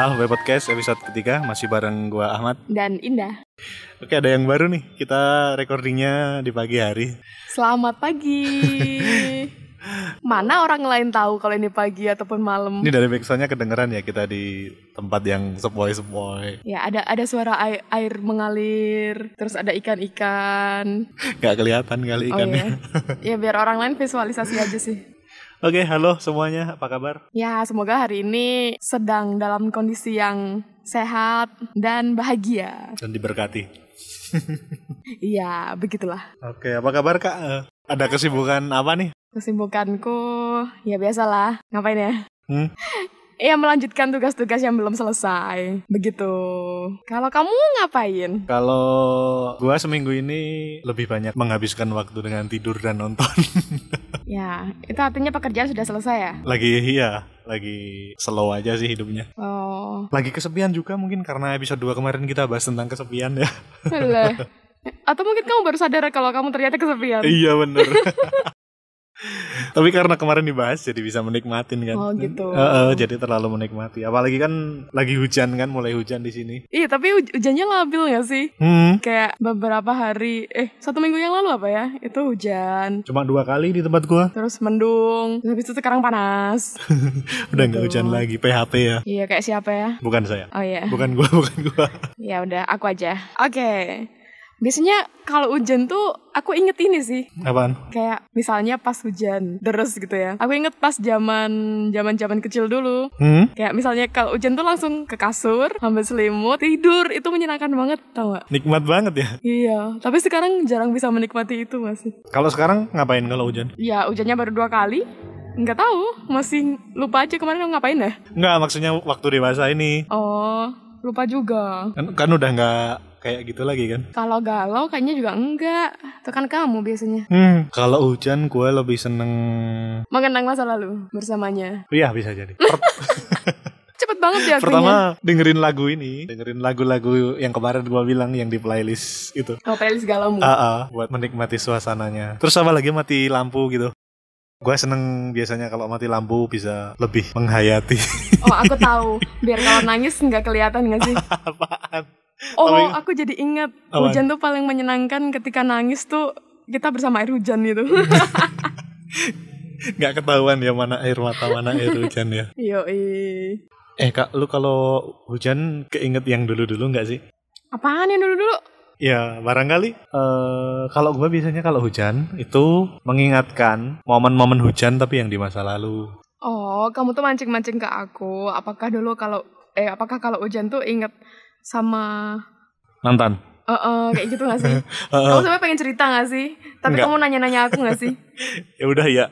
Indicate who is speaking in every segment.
Speaker 1: Sobat Podcast episode ketiga masih bareng gua Ahmad.
Speaker 2: dan Indah.
Speaker 1: Oke, ada yang baru nih. Kita recordingnya di pagi hari.
Speaker 2: Selamat pagi. Mana orang lain tahu kalau ini pagi ataupun malam?
Speaker 1: Ini dari backsoundnya kedengeran ya kita di tempat yang sepoi-sepoi.
Speaker 2: Ya, ada ada suara air, air mengalir, terus ada ikan-ikan.
Speaker 1: Gak kelihatan kali
Speaker 2: Oh
Speaker 1: ikannya.
Speaker 2: iya. ya biar orang lain visualisasi aja sih.
Speaker 1: Oke, halo semuanya. Apa kabar?
Speaker 2: Ya, semoga hari ini sedang dalam kondisi yang sehat dan bahagia.
Speaker 1: Dan diberkati.
Speaker 2: Iya, begitulah.
Speaker 1: Oke, apa kabar Kak? Eh, Ada kesibukan apa nih?
Speaker 2: Kesibukanku ya biasalah. Ngapain ya?
Speaker 1: Hmm?
Speaker 2: Ya melanjutkan tugas-tugas yang belum selesai. Begitu. Kalau kamu ngapain?
Speaker 1: Kalau gua seminggu ini lebih banyak menghabiskan waktu dengan tidur dan nonton.
Speaker 2: Ya, itu artinya pekerjaan sudah selesai ya?
Speaker 1: lagi iya, lagi slow aja sih hidupnya.
Speaker 2: Oh,
Speaker 1: Lagi kesepian juga mungkin karena episode 2 kemarin kita bahas tentang kesepian ya.
Speaker 2: lah. Atau mungkin kamu baru sadar kalau kamu ternyata kesepian.
Speaker 1: iya bener. Tapi karena kemarin dibahas jadi bisa menikmatin kan.
Speaker 2: Oh, gitu.
Speaker 1: Heeh, jadi terlalu menikmati. Apalagi kan lagi hujan kan, mulai hujan di sini.
Speaker 2: Iya, tapi huj- hujannya labil gak sih?
Speaker 1: Hmm.
Speaker 2: Kayak beberapa hari, eh satu minggu yang lalu apa ya? Itu hujan,
Speaker 1: Cuma dua kali di tempat gua.
Speaker 2: terus mendung, terus habis itu sekarang panas.
Speaker 1: Udah nggak
Speaker 2: Gitu.
Speaker 1: hujan lagi, PHP ya.
Speaker 2: Iya, kayak siapa ya?
Speaker 1: Bukan saya.
Speaker 2: Oh iya,
Speaker 1: Bukan gua, bukan gua.
Speaker 2: ya udah aku aja. Oke. Biasanya kalau hujan tuh aku inget ini sih
Speaker 1: Apaan?
Speaker 2: kayak misalnya pas hujan deres gitu ya. Aku inget pas zaman zaman zaman kecil dulu
Speaker 1: Hmm?
Speaker 2: Kayak misalnya kalau hujan tuh langsung ke kasur, ambil selimut, tidur. Itu menyenangkan banget, tau gak?
Speaker 1: Nikmat banget ya.
Speaker 2: Iya, tapi sekarang jarang bisa menikmati itu masih.
Speaker 1: Kalau sekarang ngapain kalau hujan?
Speaker 2: Ya, hujannya baru dua kali. Nggak tahu, masih lupa aja kemarin aku ngapain ya.
Speaker 1: Nggak, maksudnya waktu dewasa ini.
Speaker 2: Oh, lupa juga.
Speaker 1: Kan, kan udah nggak kayak gitu lagi kan.
Speaker 2: Kalau galau kayaknya juga enggak. Itu kan kamu biasanya.
Speaker 1: Hmm, kalau hujan gue lebih seneng
Speaker 2: Mengenang masa lalu bersamanya.
Speaker 1: Iya bisa jadi Per-
Speaker 2: Cepet banget ya akunya.
Speaker 1: Pertama dengerin lagu ini Dengerin lagu-lagu yang kemarin gue bilang yang di playlist itu
Speaker 2: Oh, playlist galaumu.
Speaker 1: Aa, Buat menikmati suasananya Terus apa lagi mati lampu gitu Gue seneng biasanya kalau mati lampu bisa lebih menghayati
Speaker 2: Oh, aku tahu. Biar kalau nangis nggak kelihatan nggak sih?
Speaker 1: Apaan?
Speaker 2: Oh,
Speaker 1: Tapi-
Speaker 2: aku jadi ingat.
Speaker 1: Apaan?
Speaker 2: Hujan tuh paling menyenangkan ketika nangis tuh kita bersama air hujan gitu.
Speaker 1: Hmm. Gak ketahuan ya mana air mata mana air hujan ya
Speaker 2: Yoi.
Speaker 1: Eh kak lu kalau hujan keinget yang dulu-dulu gak sih?
Speaker 2: Apaan yang dulu-dulu?
Speaker 1: Ya, barangkali eh kalau gue biasanya kalau hujan itu mengingatkan momen-momen hujan tapi yang di masa lalu.
Speaker 2: Oh, kamu tuh mancing-mancing ke aku. Apakah dulu kalau eh apakah kalau hujan tuh inget sama
Speaker 1: Mantan.
Speaker 2: eh eh, kayak gitu gak sih?
Speaker 1: Eh,
Speaker 2: kamu
Speaker 1: eh,
Speaker 2: sebenarnya pengen cerita gak sih? Tapi
Speaker 1: Enggak.
Speaker 2: kamu nanya-nanya aku gak sih?
Speaker 1: ya udah ya.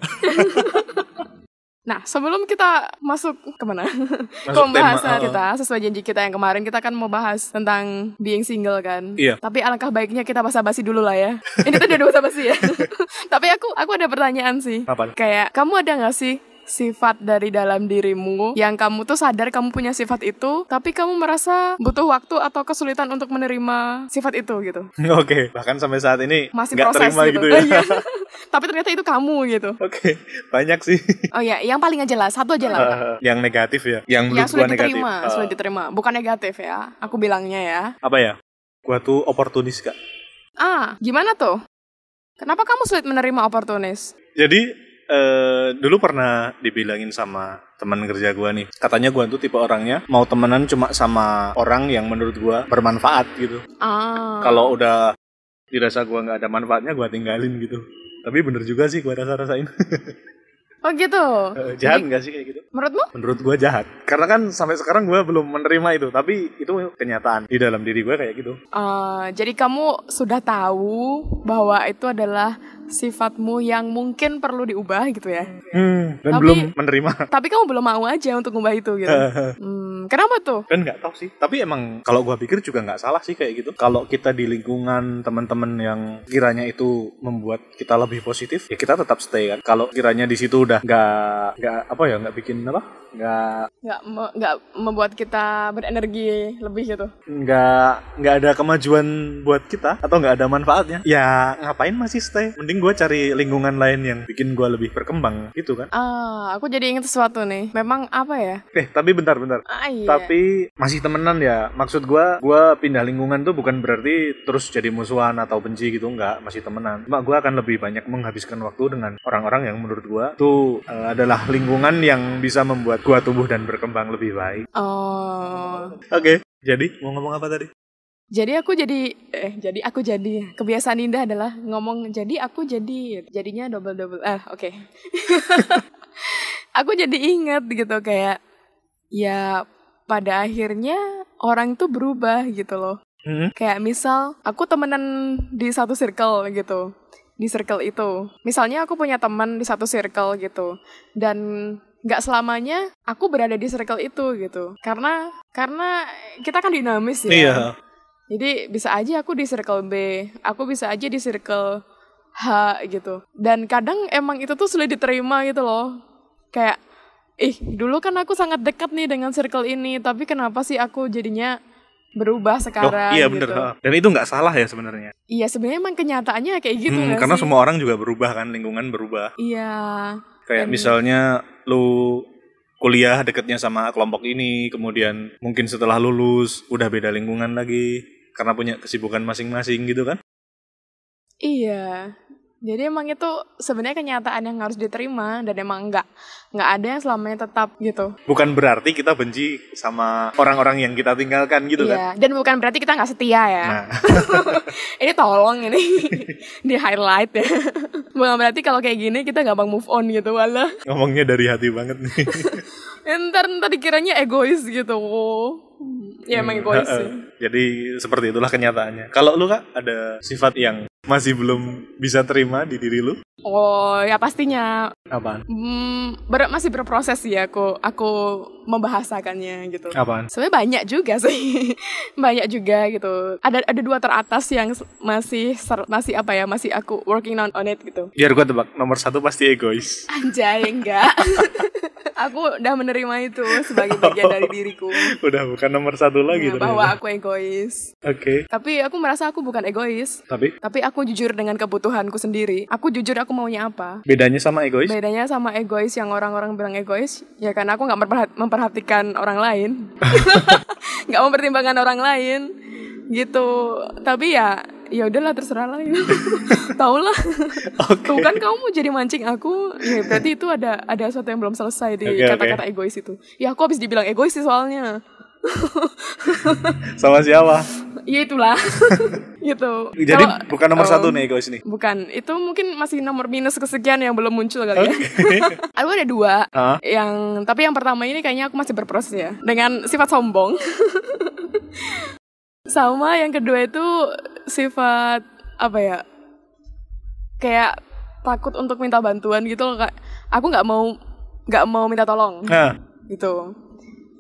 Speaker 2: Nah, sebelum kita masuk kemana? Ke
Speaker 1: Masuk tema,
Speaker 2: pembahasan
Speaker 1: eh, eh.
Speaker 2: kita sesuai janji kita yang kemarin kita kan mau bahas tentang being single kan.
Speaker 1: Iya.
Speaker 2: Tapi alangkah baiknya kita basa-basi dulu lah ya. Ini tuh udah basa-basi ya. Tapi aku aku ada pertanyaan sih.
Speaker 1: Apaan?
Speaker 2: Kayak kamu ada nggak sih sifat dari dalam dirimu yang kamu tuh sadar kamu punya sifat itu, tapi kamu merasa butuh waktu atau kesulitan untuk menerima sifat itu gitu.
Speaker 1: Oke, bahkan sampai saat ini
Speaker 2: Masih
Speaker 1: nggak
Speaker 2: proses
Speaker 1: terima gitu,
Speaker 2: gitu.
Speaker 1: ya.
Speaker 2: Iya. Tapi ternyata itu kamu gitu.
Speaker 1: Oke, banyak sih.
Speaker 2: Oh ya, yang paling aja lah, satu aja Iya lah.
Speaker 1: Eh, yang negatif ya, yang
Speaker 2: yang
Speaker 1: menurut gue
Speaker 2: sudah
Speaker 1: negatif.
Speaker 2: diterima,
Speaker 1: Eh,
Speaker 2: sudah diterima. Bukan negatif ya. Aku bilangnya ya.
Speaker 1: apa ya? Gua tuh oportunis kak.
Speaker 2: Ah, gimana tuh? Kenapa kamu sulit menerima oportunis?
Speaker 1: Jadi eh dulu pernah dibilangin sama teman kerja gua nih, katanya gua tuh tipe orangnya mau temenan cuma sama orang yang menurut gua bermanfaat gitu.
Speaker 2: Ah,
Speaker 1: kalau udah dirasa gua nggak ada manfaatnya gua tinggalin gitu tapi bener juga sih gua rasa rasain
Speaker 2: oh gitu.
Speaker 1: jahat
Speaker 2: Jadi,
Speaker 1: nggak sih kayak gitu
Speaker 2: menurutmu?
Speaker 1: menurut gua jahat karena kan sampai sekarang gua belum menerima itu tapi itu kenyataan di dalam diri gua kayak gitu
Speaker 2: Ah, jadi kamu sudah tahu bahwa itu adalah sifatmu yang mungkin perlu diubah gitu ya.
Speaker 1: dan
Speaker 2: Tapi-
Speaker 1: belum menerima
Speaker 2: Tapi kamu belum mau aja untuk ngubah itu gitu. Hmm, kenapa tuh?
Speaker 1: kan nggak tahu sih tapi emang kalau gua pikir juga nggak salah sih kayak gitu kalau kita di lingkungan teman-teman yang kiranya itu membuat kita lebih positif ya kita tetap stay kan kalau kiranya di situ udah nggak nggak apa ya nggak bikin apa nggak
Speaker 2: Nggak me- nggak membuat kita berenergi lebih gitu.
Speaker 1: nggak nggak ada kemajuan buat kita atau nggak ada manfaatnya ya ngapain masih stay mending gue cari lingkungan lain yang bikin gue lebih berkembang gitu kan
Speaker 2: Ah, aku jadi ingat sesuatu nih. Memang apa ya?
Speaker 1: eh tapi bentar bentar
Speaker 2: Ah, Iya.
Speaker 1: tapi masih temenan ya maksud gua gua pindah lingkungan tuh bukan berarti terus jadi musuhan atau benci gitu enggak masih temenan mbak gua akan lebih banyak menghabiskan waktu dengan orang-orang yang menurut gua tuh eh, adalah lingkungan yang bisa membuat gua tumbuh dan berkembang lebih baik
Speaker 2: Oh.
Speaker 1: oke jadi mau ngomong apa tadi
Speaker 2: Jadi aku jadi eh jadi aku jadi kebiasaan Indah adalah ngomong jadi aku jadi jadinya double double eh oke. aku jadi inget gitu kayak ya pada akhirnya orang tuh berubah gitu loh.
Speaker 1: Hmm?
Speaker 2: Kayak misal aku temenan di satu circle gitu. Di circle itu. Misalnya aku punya teman di satu circle gitu. Dan nggak selamanya aku berada di circle itu gitu. Karena karena kita kan dinamis ya.
Speaker 1: iya
Speaker 2: Jadi bisa aja aku di circle B, aku bisa aja di circle H gitu. Dan kadang emang itu tuh sulit diterima gitu loh. Kayak, ih dulu kan aku sangat dekat nih dengan circle ini, tapi kenapa sih aku jadinya berubah
Speaker 1: Loh,
Speaker 2: sekarang?
Speaker 1: iya
Speaker 2: gitu.
Speaker 1: bener ha. dan itu nggak salah ya sebenarnya
Speaker 2: Iya sebenarnya emang kenyataannya kayak gitu
Speaker 1: Hmm,
Speaker 2: nggak
Speaker 1: karena
Speaker 2: sih?
Speaker 1: semua orang juga berubah kan lingkungan berubah
Speaker 2: Iya,
Speaker 1: Kayak
Speaker 2: Dan-
Speaker 1: misalnya lu kuliah deketnya sama kelompok ini, kemudian mungkin setelah lulus udah beda lingkungan lagi karena punya kesibukan masing-masing gitu kan?
Speaker 2: iya. Jadi emang itu sebenarnya kenyataan yang harus diterima dan emang nggak nggak ada yang selamanya tetap gitu.
Speaker 1: Bukan berarti kita benci sama orang-orang yang kita tinggalkan gitu kan?
Speaker 2: Iya, dan bukan berarti kita nggak setia ya.
Speaker 1: Nah,
Speaker 2: ini tolong ini di highlight ya. Bukan berarti kalau kayak gini kita gampang move on gitu wala.
Speaker 1: ngomongnya dari hati banget nih.
Speaker 2: Ntar ntar dikiranya egois gitu.
Speaker 1: Hmm.
Speaker 2: Ya emang egois sih.
Speaker 1: Jadi seperti itulah kenyataannya. Kalau lu kak ada sifat yang masih belum bisa terima di diri lu?
Speaker 2: Oh ya pastinya
Speaker 1: Apaan?
Speaker 2: Hmm, ber- masih berproses sih aku aku membahasakannya gitu.
Speaker 1: Apaan?
Speaker 2: Sebenarnya banyak juga sih, banyak juga gitu. Ada ada dua teratas yang s- masih ser- masih apa ya masih aku working on on it gitu.
Speaker 1: Biar gua tebak nomor satu pasti egois.
Speaker 2: Anjay, enggak. aku udah menerima itu sebagai bagian dari diriku.
Speaker 1: Udah bukan nomor satu lagi
Speaker 2: Ya,
Speaker 1: ternyata.
Speaker 2: bahwa aku egois.
Speaker 1: Oke.
Speaker 2: Tapi aku merasa aku bukan egois.
Speaker 1: Tapi
Speaker 2: Tapi aku jujur dengan kebutuhanku sendiri. Aku jujur aku maunya apa.
Speaker 1: bedanya sama egois?
Speaker 2: Bedanya sama egois yang orang-orang bilang egois, ya karena aku nggak memperhat- memperhatikan orang lain, nggak mempertimbangkan orang lain, gitu. Tapi ya, ya udahlah terserah lah, ya. tau lah.
Speaker 1: Oke.
Speaker 2: Tuh kan kamu mau jadi mancing aku, ya berarti itu ada ada sesuatu yang belum selesai di
Speaker 1: Oke, oke.
Speaker 2: kata-kata egois itu. Ya aku habis dibilang egois sih soalnya,
Speaker 1: Sama siapa?
Speaker 2: ya itulah, gitu.
Speaker 1: Jadi
Speaker 2: Kalau-
Speaker 1: bukan nomor
Speaker 2: oh,
Speaker 1: satu nih egois nih.
Speaker 2: Bukan, itu mungkin masih nomor minus kesekian yang belum muncul kali ya. aku ada dua,
Speaker 1: Ah,
Speaker 2: yang tapi yang pertama ini kayaknya aku masih berproses ya dengan sifat sombong sama yang kedua itu sifat apa ya kayak takut untuk minta bantuan gitu loh kak aku nggak mau nggak mau minta tolong
Speaker 1: nah,
Speaker 2: gitu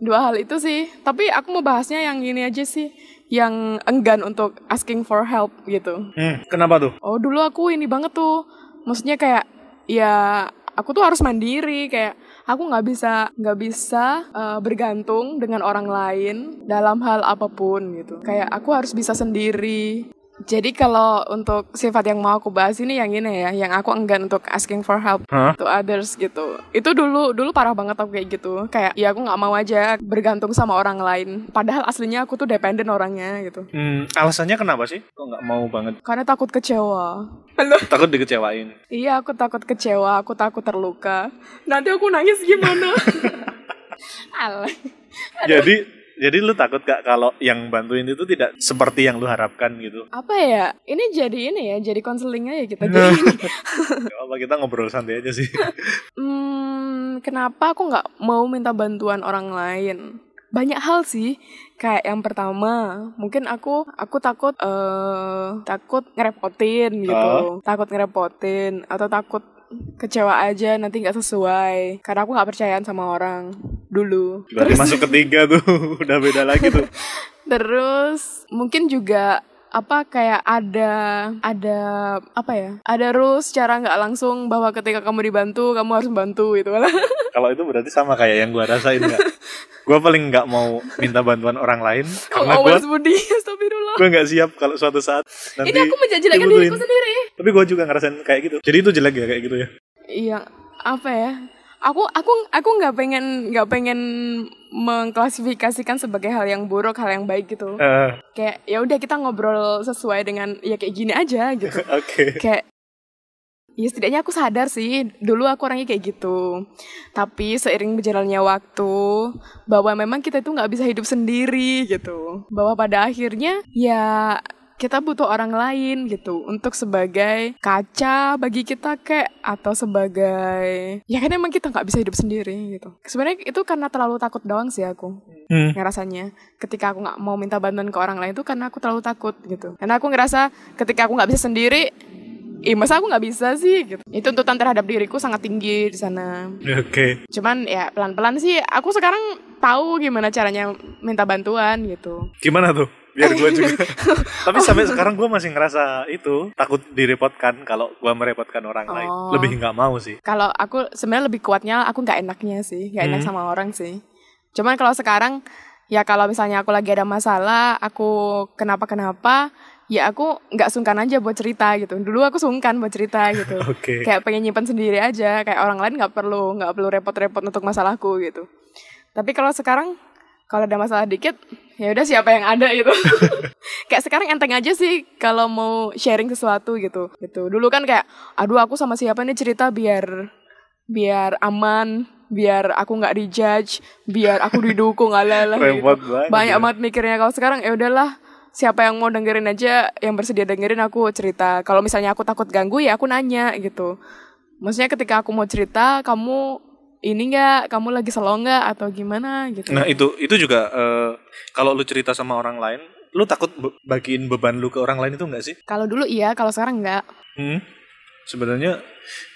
Speaker 2: dua hal itu sih tapi aku mau bahasnya yang gini aja sih yang enggan untuk asking for help gitu
Speaker 1: hmm, kenapa tuh?
Speaker 2: Oh dulu aku ini banget tuh, maksudnya kayak ya aku tuh harus mandiri kayak aku nggak bisa nggak bisa eh, bergantung dengan orang lain dalam hal apapun gitu. Kayak aku harus bisa sendiri. Jadi kalau untuk sifat yang mau aku bahas ini yang ini ya, yang aku enggan untuk asking for help
Speaker 1: Hah?
Speaker 2: to others gitu. Itu dulu dulu parah banget aku kayak gitu. Kayak ya aku nggak mau aja bergantung sama orang lain. Padahal aslinya aku tuh dependent orangnya gitu.
Speaker 1: Hmm, alasannya kenapa sih? Kok nggak mau banget?
Speaker 2: Karena takut kecewa.
Speaker 1: Takut dikecewain.
Speaker 2: Iya, aku takut kecewa, aku takut terluka. Nanti aku nangis gimana? Alay.
Speaker 1: Jadi, jadi lu takut gak kalau yang bantuin itu tidak seperti yang lu harapkan gitu?
Speaker 2: Apa ya? Ini jadi ini ya, jadi konseling aja kita. Jadi ini.
Speaker 1: Gak apa kita ngobrol santai aja sih.
Speaker 2: Hmm, kenapa aku nggak mau minta bantuan orang lain? Banyak hal sih. Kayak yang pertama, mungkin aku aku takut eh takut ngerepotin gitu. Takut ngerepotin atau takut kecewa aja nanti nggak sesuai karena aku nggak percayaan sama orang dulu
Speaker 1: Berarti masuk ketiga tuh, udah beda lagi tuh.
Speaker 2: Terus mungkin juga apa kayak ada ada apa ya? Ada rules secara nggak langsung bahwa ketika kamu dibantu kamu harus membantu gitu lah.
Speaker 1: Kalau itu berarti sama kayak yang gua rasain gak? Gua paling nggak mau minta bantuan orang lain karena
Speaker 2: Kamu
Speaker 1: gua
Speaker 2: awas budi, astagfirullah.
Speaker 1: gue nggak siap kalau suatu saat nanti.
Speaker 2: Ini aku menjajikan
Speaker 1: dibutuhin.
Speaker 2: diriku sendiri.
Speaker 1: Tapi gua juga ngerasain kayak gitu. Jadi itu jelek ya kayak gitu ya.
Speaker 2: Iya, apa ya? aku aku aku nggak pengen nggak pengen mengklasifikasikan sebagai hal yang buruk hal yang baik gitu
Speaker 1: Eh,
Speaker 2: kayak ya udah kita ngobrol sesuai dengan ya kayak gini aja gitu
Speaker 1: oke
Speaker 2: kayak ya setidaknya aku sadar sih dulu aku orangnya kayak gitu tapi seiring berjalannya waktu bahwa memang kita itu nggak bisa hidup sendiri gitu bahwa pada akhirnya ya kita butuh orang lain gitu untuk sebagai kaca bagi kita kayak atau sebagai ya kan emang kita nggak bisa hidup sendiri gitu sebenarnya itu karena terlalu takut doang sih aku
Speaker 1: Hmm.
Speaker 2: ngerasanya Ya, ketika aku nggak mau minta bantuan ke orang lain itu karena aku terlalu takut gitu karena aku ngerasa ketika aku nggak bisa sendiri Ih, masa aku nggak bisa sih gitu. Itu tuntutan terhadap diriku sangat tinggi di sana.
Speaker 1: Oke.
Speaker 2: Cuman ya pelan-pelan sih aku sekarang tahu gimana caranya minta bantuan gitu.
Speaker 1: Gimana tuh? Biar gue juga. Tapi sampai sekarang gue masih ngerasa itu takut direpotkan kalau gue merepotkan orang lain.
Speaker 2: Oh.
Speaker 1: Lebih nggak mau sih.
Speaker 2: Kalau aku sebenarnya lebih kuatnya aku nggak enaknya sih, nggak enak
Speaker 1: Hmm.
Speaker 2: sama orang sih. Cuman kalau sekarang ya kalau misalnya aku lagi ada masalah, aku kenapa-kenapa, ya aku nggak sungkan aja buat cerita gitu. Dulu aku sungkan buat cerita gitu.
Speaker 1: Oke.
Speaker 2: kayak pengen nyimpan sendiri aja kayak orang lain nggak perlu nggak perlu repot-repot untuk masalahku gitu tapi kalau sekarang kalau ada masalah dikit ya udah siapa yang ada gitu kayak sekarang enteng aja sih kalau mau sharing sesuatu gitu gitu dulu kan kayak aduh aku sama siapa nih cerita biar biar aman biar aku nggak dijudge biar aku didukung ala gitu
Speaker 1: Repot banget.
Speaker 2: banyak banget mikirnya kalau sekarang ya udahlah siapa yang mau dengerin aja yang bersedia dengerin aku cerita kalau misalnya aku takut ganggu ya aku nanya gitu maksudnya ketika aku mau cerita kamu ini nggak kamu lagi slow nggak atau gimana gitu
Speaker 1: Nah itu itu juga eh, kalau lu cerita sama orang lain, lu takut be- bagiin beban lu ke orang lain itu nggak sih?
Speaker 2: kalau dulu iya kalau sekarang nggak
Speaker 1: Hmm. Sebenarnya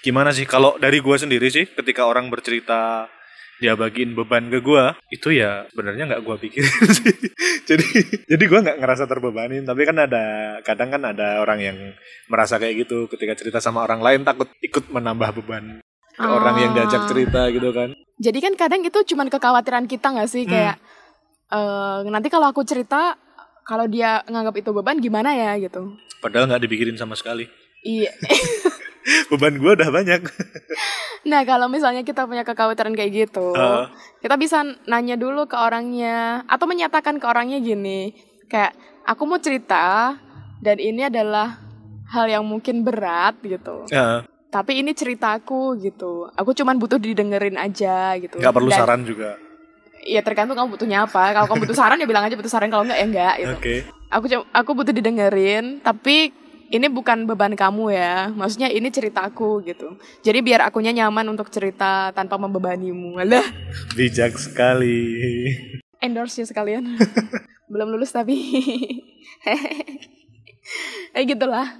Speaker 1: gimana sih kalau dari gua sendiri sih ketika orang bercerita dia bagiin beban ke gua itu ya sebenarnya nggak gua pikirin sih. jadi jadi gua nggak ngerasa terbebanin tapi kan ada kadang kan ada orang yang merasa kayak gitu ketika cerita sama orang lain takut ikut menambah beban ke orang yang diajak
Speaker 2: Ah.
Speaker 1: cerita gitu kan.
Speaker 2: jadi kan kadang itu cuman kekhawatiran kita nggak sih
Speaker 1: Hmm.
Speaker 2: kayak eh, nanti kalau aku cerita kalau dia nganggap itu beban gimana ya gitu
Speaker 1: Padahal nggak dipikirin sama sekali.
Speaker 2: iya
Speaker 1: Beban gua udah banyak.
Speaker 2: Nah kalau misalnya kita punya kekhawatiran kayak gitu,
Speaker 1: Heeh.
Speaker 2: kita bisa nanya dulu ke orangnya atau menyatakan ke orangnya gini, kayak aku mau cerita dan ini adalah hal yang mungkin berat gitu.
Speaker 1: Heeh.
Speaker 2: Tapi ini ceritaku gitu. Aku cuman butuh didengerin aja gitu.
Speaker 1: nggak perlu
Speaker 2: Dan-
Speaker 1: saran juga.
Speaker 2: Iya tergantung kamu butuhnya apa. Kalau kamu butuh saran ya bilang aja butuh saran. Kalau enggak ya enggak gitu.
Speaker 1: Oke.
Speaker 2: Aku cu- aku butuh didengerin. Tapi ini bukan beban kamu ya. Maksudnya ini ceritaku gitu. Jadi biar akunya nyaman untuk cerita tanpa membebanimu. Alah,
Speaker 1: Bijak sekali.
Speaker 2: endorse ya sekalian. Belum lulus tapi. eh gitulah.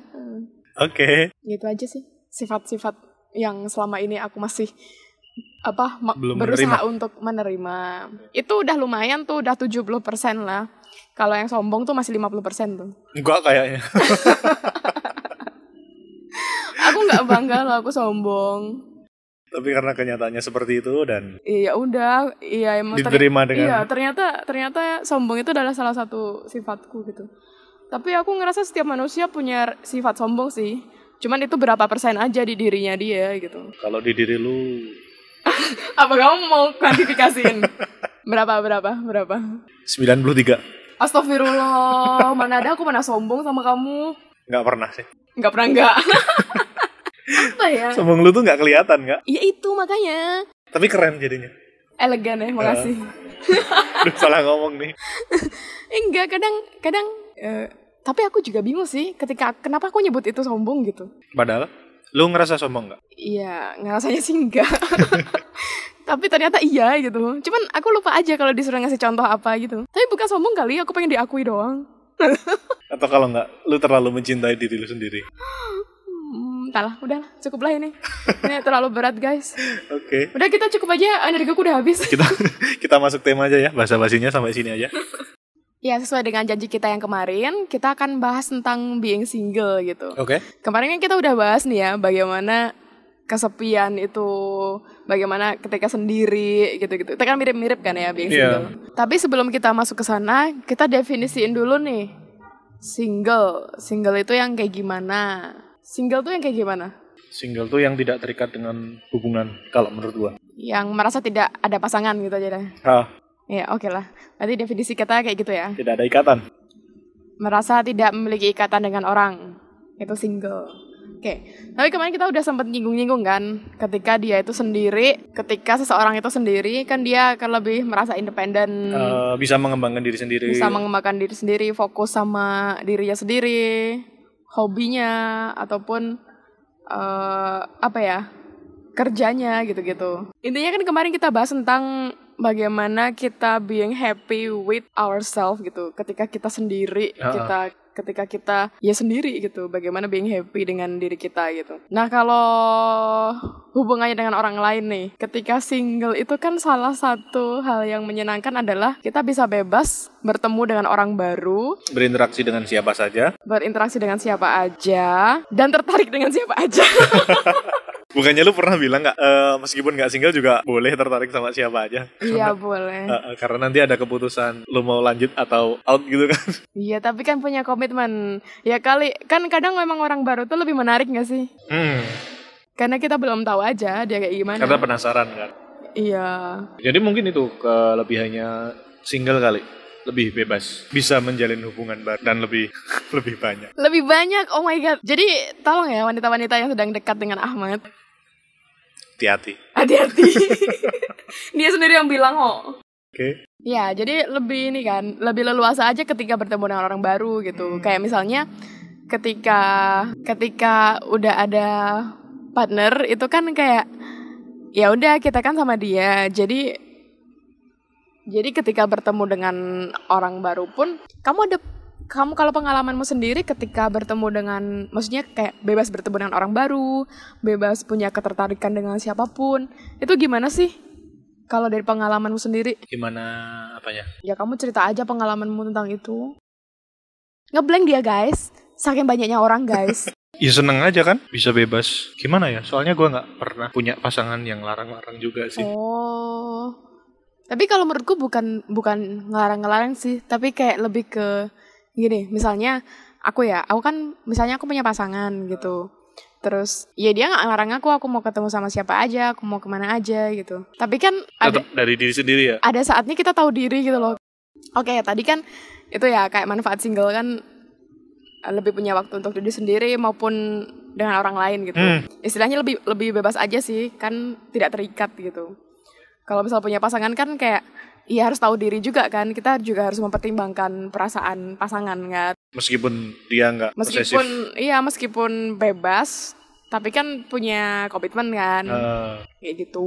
Speaker 1: Oke.
Speaker 2: Gitu aja sih sifat-sifat yang selama ini aku masih apa ma-
Speaker 1: Belum
Speaker 2: berusaha untuk menerima. Itu udah lumayan tuh, udah 70% lah. Kalau yang sombong tuh masih 50% tuh.
Speaker 1: Enggak kayaknya.
Speaker 2: Aku nggak bangga loh aku sombong.
Speaker 1: Tapi karena kenyataannya seperti itu dan
Speaker 2: Iya udah, iya emang ter-
Speaker 1: diterima dengan
Speaker 2: Iya, ternyata ternyata sombong itu adalah salah satu sifatku gitu. Tapi aku ngerasa setiap manusia punya sifat sombong sih. Cuman itu berapa persen aja di dirinya dia gitu.
Speaker 1: kalau di diri lu
Speaker 2: Apa kamu mau kuantifikasiin? berapa berapa berapa?
Speaker 1: 93.
Speaker 2: Astagfirullah, mana ada aku pernah sombong sama kamu?
Speaker 1: Enggak pernah sih.
Speaker 2: Nggak pernah nggak. Apa ya?
Speaker 1: Sombong lu tuh nggak kelihatan nggak?
Speaker 2: Ya itu makanya.
Speaker 1: Tapi keren jadinya.
Speaker 2: Elegan ya, makasih.
Speaker 1: Eh, Aduh, salah ngomong nih.
Speaker 2: Eh, enggak, kadang kadang eh, tapi aku juga bingung sih ketika kenapa aku nyebut itu sombong gitu.
Speaker 1: Padahal lu ngerasa sombong nggak?
Speaker 2: Iya, ngerasanya sih enggak. Tapi ternyata iya gitu. Cuman aku lupa aja kalau disuruh ngasih contoh apa gitu. Tapi bukan sombong kali, aku pengen diakui doang.
Speaker 1: Atau kalau nggak, lu terlalu mencintai diri lu sendiri.
Speaker 2: Hmm, entahlah, udahlah, cukuplah ini. Ini terlalu berat, guys.
Speaker 1: Oke.
Speaker 2: Udah kita cukup aja, energiku udah habis.
Speaker 1: Kita kita masuk tema aja ya, bahasa-basinya sampai sini aja.
Speaker 2: Ya, sesuai dengan janji kita yang kemarin, kita akan bahas tentang being single gitu.
Speaker 1: Oke.
Speaker 2: Kemarin kan kita udah bahas nih ya bagaimana kesepian itu, bagaimana ketika sendiri gitu-gitu. Itu kan mirip-mirip kan ya being
Speaker 1: Iya.
Speaker 2: single. Tapi sebelum kita masuk ke sana, kita definisiin dulu nih. Single, single itu yang kayak gimana? Single tuh yang kayak gimana?
Speaker 1: single tuh yang tidak terikat dengan hubungan kalau menurut gua
Speaker 2: yang merasa tidak ada pasangan gitu aja deh.
Speaker 1: Hah,
Speaker 2: Ya oke lah. Berarti definisi kata kayak gitu ya.
Speaker 1: tidak ada ikatan
Speaker 2: Merasa tidak memiliki ikatan dengan orang. Itu single. Oke. Tapi kemarin kita udah sempet nyinggung-nyinggung kan. Ketika dia itu sendiri, ketika seseorang itu sendiri, kan dia akan lebih merasa independen.
Speaker 1: Eh, bisa mengembangkan diri sendiri
Speaker 2: Hmm. bisa mengembangkan diri sendiri, fokus sama dirinya sendiri, hobinya ataupun eh, apa ya kerjanya gitu-gitu. Intinya kan kemarin kita bahas tentang bagaimana kita being happy with ourselves gitu. Ketika kita sendiri,
Speaker 1: Ah.
Speaker 2: kita ketika kita ya sendiri gitu. Bagaimana being happy dengan diri kita gitu. Nah kalau hubungannya dengan orang lain nih, ketika single itu kan salah satu hal yang menyenangkan adalah kita bisa bebas bertemu dengan orang baru,
Speaker 1: berinteraksi dengan siapa saja
Speaker 2: berinteraksi dengan siapa aja, dan tertarik dengan siapa aja.
Speaker 1: bukannya lu pernah bilang nggak eh, meskipun nggak single juga boleh tertarik sama siapa aja
Speaker 2: Iya boleh.
Speaker 1: Eh, eh, karena nanti ada keputusan lu mau lanjut atau out gitu kan
Speaker 2: Iya, tapi kan punya komitmen. Ya kali, kan kadang memang orang baru tuh lebih menarik gak sih?
Speaker 1: Hmm,
Speaker 2: Karena kita belum tahu aja dia kayak gimana.
Speaker 1: karena penasaran kan
Speaker 2: Iya.
Speaker 1: Jadi mungkin itu kelebihannya single kali, lebih bebas, bisa menjalin hubungan baru dan lebih lebih banyak.
Speaker 2: Lebih banyak, oh my god. Jadi tolong ya wanita-wanita yang sedang dekat dengan Ahmad.
Speaker 1: Hati-hati.
Speaker 2: Hati-hati. dia sendiri yang bilang "Oh, kok.
Speaker 1: Oke.
Speaker 2: Ya, jadi lebih ini kan, lebih leluasa aja ketika bertemu dengan orang baru gitu. Kayak misalnya ketika ketika udah ada partner itu kan kayak ya udah kita kan sama dia. Jadi jadi ketika bertemu dengan orang baru pun kamu ada kamu kalau pengalamanmu sendiri ketika bertemu dengan maksudnya kayak bebas bertemu dengan orang baru, bebas punya ketertarikan dengan siapapun, itu gimana sih? Kalau dari pengalamanmu sendiri?
Speaker 1: Gimana apanya?
Speaker 2: Ya kamu cerita aja pengalamanmu tentang itu. Ngeblank dia guys. Saking banyaknya orang guys.
Speaker 1: Ya seneng aja kan, bisa bebas. Gimana ya? Soalnya gua nggak pernah punya pasangan yang larang-larang juga sih.
Speaker 2: oh. Tapi kalau menurutku bukan bukan ngelarang-ngelarang sih, tapi kayak lebih ke gini, misalnya aku ya, aku kan misalnya aku punya pasangan gitu. Terus ya dia nggak ngelarang aku, aku mau ketemu sama siapa aja, aku mau kemana aja gitu. Tapi kan ada
Speaker 1: Tetap dari diri sendiri ya.
Speaker 2: ada saatnya kita tahu diri gitu loh. Oke, tadi kan itu ya kayak manfaat single kan eh, lebih punya waktu untuk diri sendiri maupun dengan orang lain gitu.
Speaker 1: Hmm.
Speaker 2: Istilahnya lebih lebih bebas aja sih, kan tidak terikat gitu. Kalau misal punya pasangan kan kayak ya harus tahu diri juga kan. Kita juga harus mempertimbangkan perasaan pasangan kan.
Speaker 1: Meskipun dia nggak posesif.
Speaker 2: Meskipun iya meskipun bebas, tapi kan punya komitmen kan
Speaker 1: Eh,
Speaker 2: kayak gitu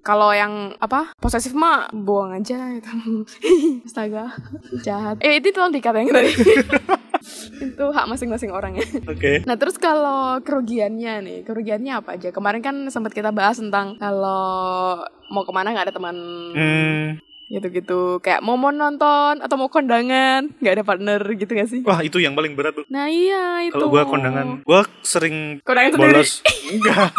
Speaker 2: kalau yang apa posesif mah buang aja gitu astaga jahat eh itu tolong dikat yang tadi itu hak masing-masing orang ya
Speaker 1: Oke.
Speaker 2: nah terus kalau kerugiannya nih kerugiannya apa aja kemarin kan sempat kita bahas tentang kalau mau kemana nggak ada teman
Speaker 1: Hmm,
Speaker 2: gitu-gitu kayak mau mau nonton atau mau kondangan nggak ada partner gitu gak sih
Speaker 1: wah itu yang paling berat tuh.
Speaker 2: nah iya itu
Speaker 1: Kalau gua kondangan, gua sering
Speaker 2: kondangan sendiri
Speaker 1: bolos. Enggak.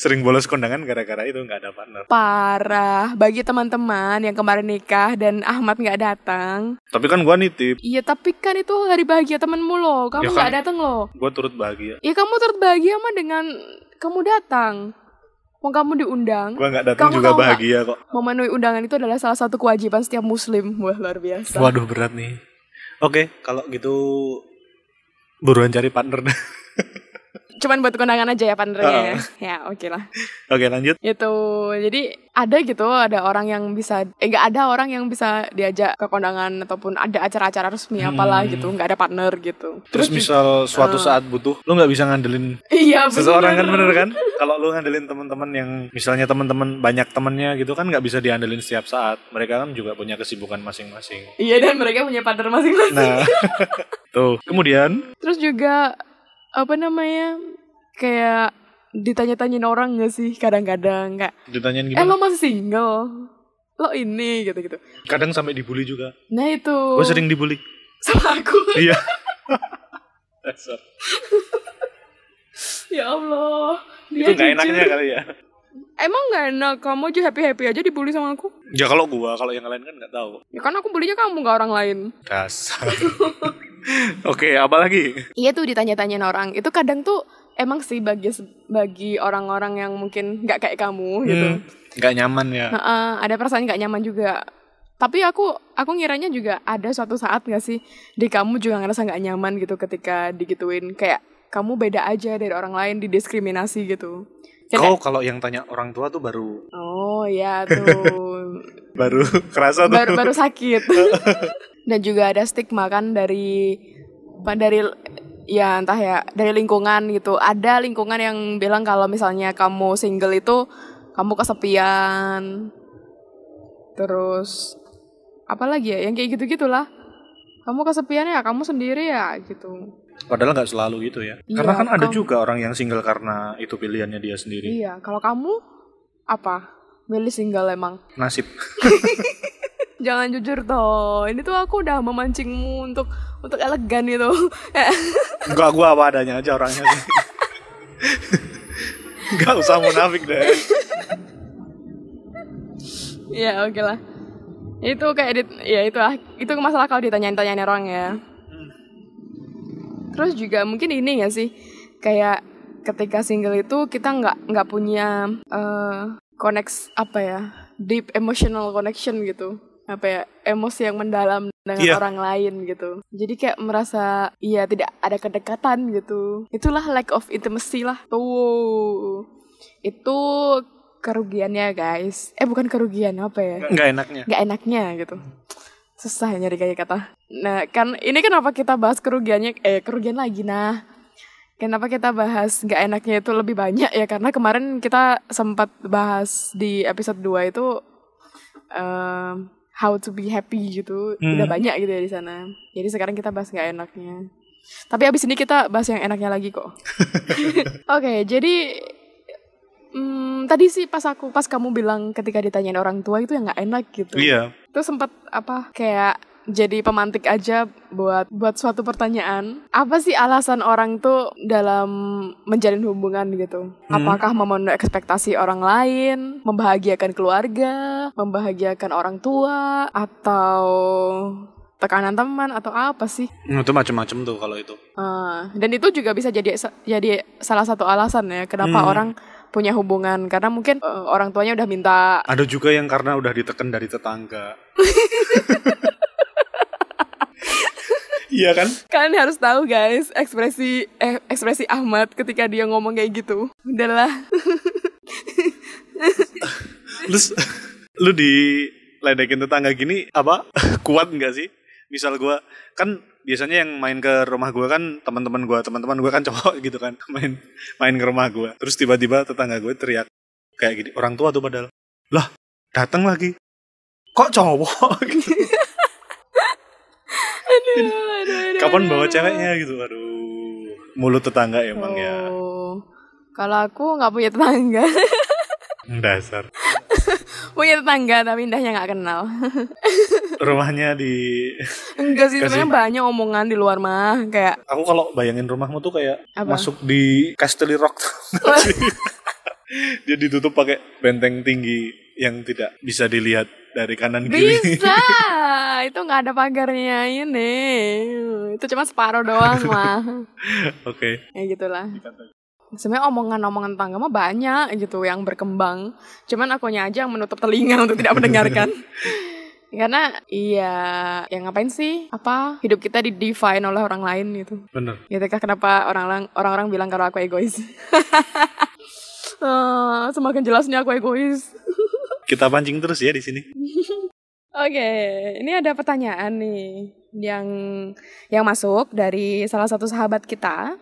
Speaker 1: sering bolos kondangan gara-gara itu nggak ada partner.
Speaker 2: Parah, bagi teman-teman yang kemarin nikah dan Ahmad nggak datang.
Speaker 1: Tapi kan gua nitip,
Speaker 2: Iya, tapi kan itu hari bahagia temenmu loh. Kamu
Speaker 1: Ya kan.
Speaker 2: nggak datang loh.
Speaker 1: gua turut bahagia.
Speaker 2: Ya kamu turut bahagia mah dengan kamu datang. Mau kamu diundang.
Speaker 1: Gua nggak datang juga
Speaker 2: Kamu tahu nggak?
Speaker 1: bahagia kok.
Speaker 2: Memenuhi undangan itu adalah salah satu kewajiban setiap muslim. Wah, luar biasa.
Speaker 1: Waduh berat nih. Oke, kalau gitu buruan cari partner.
Speaker 2: Cuman buat kondangan aja ya
Speaker 1: Ah.
Speaker 2: panernya. Ya, oke lah.
Speaker 1: Oke, lanjut.
Speaker 2: itu jadi ada gitu ada orang yang bisa eh nggak ada orang yang bisa diajak ke kondangan ataupun ada acara-acara resmi apalah
Speaker 1: Hmm.
Speaker 2: gitu nggak ada partner gitu
Speaker 1: Terus
Speaker 2: ju-
Speaker 1: misal suatu saat butuh, lu nggak bisa ngandelin
Speaker 2: iya
Speaker 1: seseorang kan bener
Speaker 2: Ah. bener.
Speaker 1: kan? Kalau lu ngandelin teman-teman yang misalnya teman-teman banyak temennya gitu kan nggak bisa diandelin setiap saat. Mereka kan juga punya kesibukan masing-masing.
Speaker 2: iya dan mereka punya partner masing-masing
Speaker 1: Nah, tuh. Kemudian,
Speaker 2: terus juga apa namanya kayak ditanya-tanyain orang nggak sih kadang-kadang nggak
Speaker 1: ditanyain
Speaker 2: eh
Speaker 1: gimana?
Speaker 2: lo masih single lo ini gitu-gitu
Speaker 1: Kadang sampai dibully juga.
Speaker 2: nah itu
Speaker 1: Gue Oh, sering dibully.
Speaker 2: sama aku
Speaker 1: Iya.
Speaker 2: ya allah
Speaker 1: Itu nggak
Speaker 2: dia Iya, jujur.
Speaker 1: enaknya kali ya.
Speaker 2: emang nggak enak kamu aja happy happy aja dibully sama aku
Speaker 1: Ya kalau gua, kalau yang lain kan nggak tahu.
Speaker 2: Ya kan aku belinya kamu nggak orang lain.
Speaker 1: Dasar. Oke, apalagi?
Speaker 2: Iya tuh ditanya-tanyain orang. Itu kadang tuh emang sih bagi bagi orang-orang yang mungkin nggak kayak kamu gitu. Nah,
Speaker 1: Hmm, nggak nyaman ya.
Speaker 2: Heeh, ada perasaan nggak nyaman juga. Tapi aku aku ngiranya juga ada suatu saat nggak sih di kamu juga ngerasa nggak nyaman gitu ketika digituin kayak kamu beda aja dari orang lain didiskriminasi gitu. Kayak-
Speaker 1: Kau kalau yang tanya orang tua tuh baru
Speaker 2: oh ya tuh
Speaker 1: baru kerasa tuh.
Speaker 2: baru baru sakit dan juga ada stigma kan dari apa, dari ya entah ya dari lingkungan gitu ada lingkungan yang bilang kalau misalnya kamu single itu kamu kesepian terus apa lagi ya yang kayak gitu gitulah kamu kesepian ya kamu sendiri ya gitu
Speaker 1: Padahal nggak selalu gitu ya.
Speaker 2: Iya,
Speaker 1: Karena kan ada
Speaker 2: kau-
Speaker 1: juga orang yang single karena itu pilihannya dia sendiri.
Speaker 2: iya kalau kamu apa milih single emang
Speaker 1: Nasib.
Speaker 2: jangan jujur toh ini tuh aku udah memancingmu untuk untuk elegan gitu
Speaker 1: Enggak gua apa adanya aja orangnya sih. Enggak usah munafik deh.
Speaker 2: Ya oke lah. Itu kayak dit- ya itu lah. Itu masalah kalau ditanyain-tanyain orang ya. Terus juga mungkin ini ya sih kayak ketika single itu kita nggak nggak punya eh connects apa ya deep emotional connection gitu apa ya emosi yang mendalam dengan
Speaker 1: Iya.
Speaker 2: orang lain gitu jadi kayak merasa iya tidak ada kedekatan gitu itulah lack of intimacy lah tuh itu kerugiannya guys eh bukan kerugian apa ya
Speaker 1: Enggak enaknya.
Speaker 2: nggak enaknya gitu susah ya nyari kayak kata nah kan ini kenapa kita bahas kerugiannya eh kerugian lagi nah kenapa kita bahas nggak enaknya itu lebih banyak ya karena kemarin kita sempat bahas di episode 2 itu em, how to be happy gitu
Speaker 1: Hmm.
Speaker 2: udah banyak gitu ya di sana jadi sekarang kita bahas nggak enaknya tapi abis ini kita bahas yang enaknya lagi kok oke jadi mm, tadi sih pas aku pas kamu bilang ketika ditanyain orang tua itu yang nggak enak gitu
Speaker 1: Iya.
Speaker 2: itu sempat apa kayak jadi pemantik aja buat buat suatu pertanyaan apa sih alasan orang tuh dalam menjalin hubungan gitu apakah memenuhi ekspektasi orang lain membahagiakan keluarga membahagiakan orang tua atau tekanan teman atau apa sih
Speaker 1: Hmm, Itu macam-macam tuh kalau itu.
Speaker 2: Ah, dan itu juga bisa jadi jadi salah satu alasan ya kenapa
Speaker 1: Hmm.
Speaker 2: orang punya hubungan karena mungkin eh, orang tuanya udah minta
Speaker 1: Ada juga yang karena udah ditekan dari tetangga. Iya kan?
Speaker 2: Kalian harus tahu guys, ekspresi eh, ekspresi Ahmad ketika dia ngomong kayak gitu. Udahlah.
Speaker 1: Lu lu diledekin tetangga gini apa? Kuat nggak sih? Misal gua kan biasanya yang main ke rumah gua kan teman-teman gua, teman-teman gua kan cowok gitu kan. Main main ke rumah gua. Terus tiba-tiba tetangga gue teriak kayak gini, orang tua tuh padahal. Lah, datang lagi. Kok cowok? Gitu.
Speaker 2: Aduh, aduh, aduh,
Speaker 1: Kapan
Speaker 2: aduh,
Speaker 1: bawa
Speaker 2: aduh.
Speaker 1: ceweknya gitu. Aduh. Mulut tetangga emang ya.
Speaker 2: Oh. Kalau aku nggak punya tetangga.
Speaker 1: Dasar.
Speaker 2: punya tetangga tapi indahnya nggak kenal.
Speaker 1: Rumahnya di
Speaker 2: Enggak sih,
Speaker 1: Kasih.
Speaker 2: sebenarnya banyak omongan di luar mah kayak
Speaker 1: Aku kalau bayangin rumahmu tuh kayak
Speaker 2: Apa?
Speaker 1: masuk di Castelli Rock. Dia ditutup pakai benteng tinggi yang tidak bisa dilihat dari kanan kiri.
Speaker 2: bisa. itu nggak ada pagarnya ini. Itu cuma separuh doang mah.
Speaker 1: Oke.
Speaker 2: ya gitulah. sebenarnya omongan-omongan tetangga mah banyak gitu yang berkembang cuman akunya aja yang menutup telinga untuk tidak mendengarkan karena iya yang ngapain sih apa hidup kita di define oleh orang lain gitu
Speaker 1: Bener.
Speaker 2: ya Teka, kenapa orang-orang orang-orang bilang kalau aku egois Eh, semakin jelasnya aku egois
Speaker 1: Kita pancing terus ya di sini.
Speaker 2: Oke, ini ada pertanyaan nih yang yang masuk dari salah satu sahabat kita.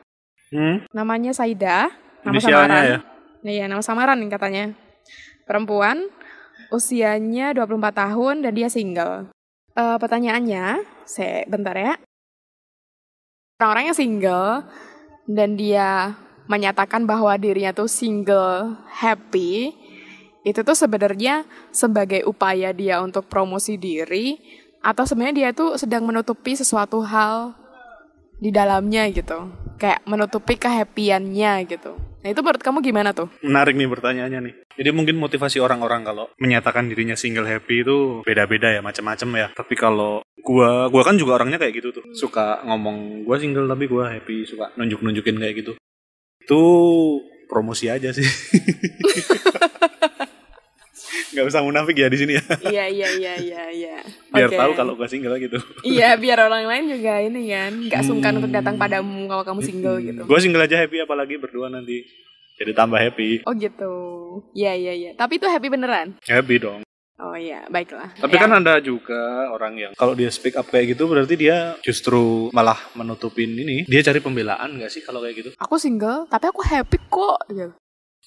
Speaker 1: Hmm?
Speaker 2: Namanya Saida. Nama
Speaker 1: Inisialnya
Speaker 2: samaran.
Speaker 1: ya?
Speaker 2: Iya, nama samaran katanya. Perempuan, usianya 24 tahun dan dia single. Eh, pertanyaannya, saya bentar ya. Orang-orang yang single dan dia menyatakan bahwa dirinya tuh single happy, itu tuh sebenarnya sebagai upaya dia untuk promosi diri atau sebenarnya dia tuh sedang menutupi sesuatu hal di dalamnya gitu kayak menutupi kehappiannya gitu nah itu menurut kamu gimana tuh
Speaker 1: Menarik nih pertanyaannya nih. Jadi mungkin motivasi orang-orang kalau menyatakan dirinya single happy itu beda-beda ya, macam-macam ya. Tapi kalau gua gua kan juga orangnya kayak gitu tuh
Speaker 2: Hmm.
Speaker 1: suka ngomong gua single tapi gua happy suka nunjuk nunjukin kayak gitu itu promosi aja sih nggak usah munafik ya di sini ya
Speaker 2: iya iya iya iya iya
Speaker 1: biar
Speaker 2: Oke.
Speaker 1: tahu kalau gua single gitu
Speaker 2: iya biar orang lain juga ini kan nggak sungkan untuk
Speaker 1: Hmm.
Speaker 2: datang padamu kalau kamu single gitu
Speaker 1: gua single aja happy apalagi berdua nanti jadi tambah happy
Speaker 2: oh gitu iya iya iya tapi itu happy beneran
Speaker 1: happy dong
Speaker 2: oh iya baiklah
Speaker 1: Tapi
Speaker 2: Ya.
Speaker 1: kan ada juga orang yang kalau dia speak up kayak gitu berarti dia justru malah menutupin ini. Dia cari pembelaan nggak sih kalau kayak gitu?
Speaker 2: aku single tapi aku happy kok gitu.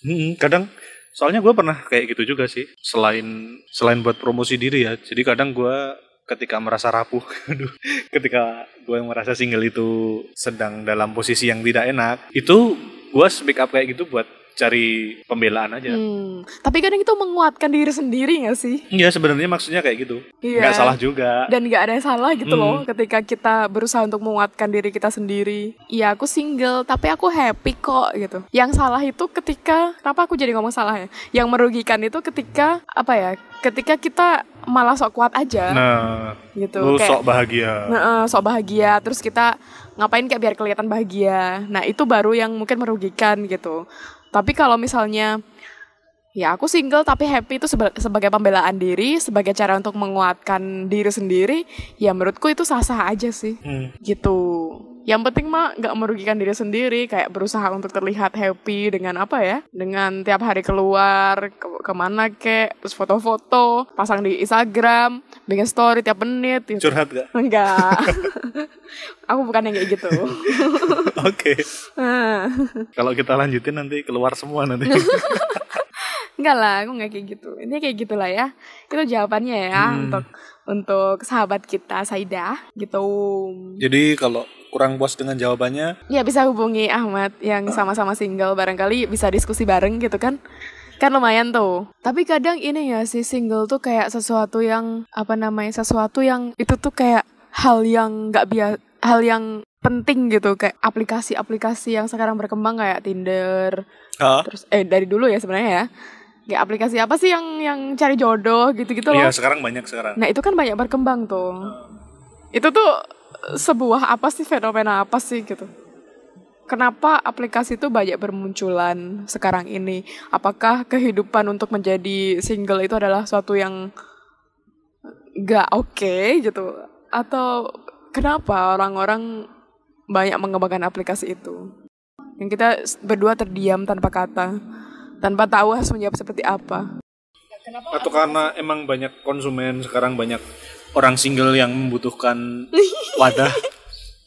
Speaker 1: Hmm, kadang soalnya gue pernah kayak gitu juga sih. Selain selain buat promosi diri ya. Jadi kadang gue ketika merasa rapuh, aduh, ketika gue merasa single itu sedang dalam posisi yang tidak enak, itu gue speak up kayak gitu buat cari pembelaan aja.
Speaker 2: Hmm, tapi kadang itu menguatkan diri sendiri gak sih?
Speaker 1: Iya sebenarnya maksudnya kayak gitu.
Speaker 2: Iya.
Speaker 1: Nggak salah juga.
Speaker 2: Dan gak ada yang salah gitu
Speaker 1: Hmm.
Speaker 2: loh ketika kita berusaha untuk menguatkan diri kita sendiri. Iya aku single tapi aku happy kok gitu. Yang salah itu ketika, kenapa aku jadi ngomong salah ya? Yang merugikan itu ketika, apa ya, ketika kita malah sok kuat aja
Speaker 1: Nah,
Speaker 2: gitu.
Speaker 1: lu
Speaker 2: Iya. Kayak,
Speaker 1: sok bahagia.
Speaker 2: "Nah, eh, sok bahagia, terus kita ngapain kayak biar kelihatan bahagia. Nah itu baru yang mungkin merugikan gitu. Tapi kalau misalnya ya aku single tapi happy itu seba- sebagai pembelaan diri, sebagai cara untuk menguatkan diri sendiri, ya menurutku itu sah-sah aja sih
Speaker 1: Hmm.
Speaker 2: gitu. Yang penting mah nggak merugikan diri sendiri, kayak berusaha untuk terlihat happy dengan apa ya, dengan tiap hari keluar ke- kemana kek, terus foto-foto, pasang di Instagram, bikin story tiap menit. gitu.
Speaker 1: Mm, Curhat gak?
Speaker 2: Enggak. Aku bukan yang kayak gitu.
Speaker 1: Oke.
Speaker 2: Ah.
Speaker 1: Kalau kita lanjutin nanti keluar semua nanti.
Speaker 2: Enggak lah, aku enggak kayak gitu. Ini kayak gitulah ya. Itu jawabannya ya
Speaker 1: Hmm.
Speaker 2: untuk untuk sahabat kita Saidah gitu.
Speaker 1: Jadi kalau kurang puas dengan jawabannya,
Speaker 2: Ya bisa hubungi Ahmad yang sama-sama single barangkali bisa diskusi bareng gitu kan. Kan lumayan tuh. Tapi kadang ini ya si single tuh kayak sesuatu yang apa namanya? sesuatu yang itu tuh kayak hal yang nggak biasa hal yang penting gitu kayak aplikasi-aplikasi yang sekarang berkembang kayak Tinder,
Speaker 1: Hah?
Speaker 2: terus eh dari dulu ya sebenarnya ya kayak aplikasi apa sih yang yang cari jodoh gitu-gitu loh
Speaker 1: Iya, sekarang banyak sekarang.
Speaker 2: nah itu kan banyak berkembang tuh itu tuh eh, sebuah apa sih fenomena apa sih gitu kenapa aplikasi itu banyak bermunculan sekarang ini apakah kehidupan untuk menjadi single itu adalah suatu yang gak oke gitu atau kenapa orang-orang banyak mengembangkan aplikasi itu yang kita s- berdua terdiam tanpa kata tanpa tahu harus menjawab seperti apa
Speaker 1: Atau karena emang banyak konsumen sekarang banyak orang single yang membutuhkan wadah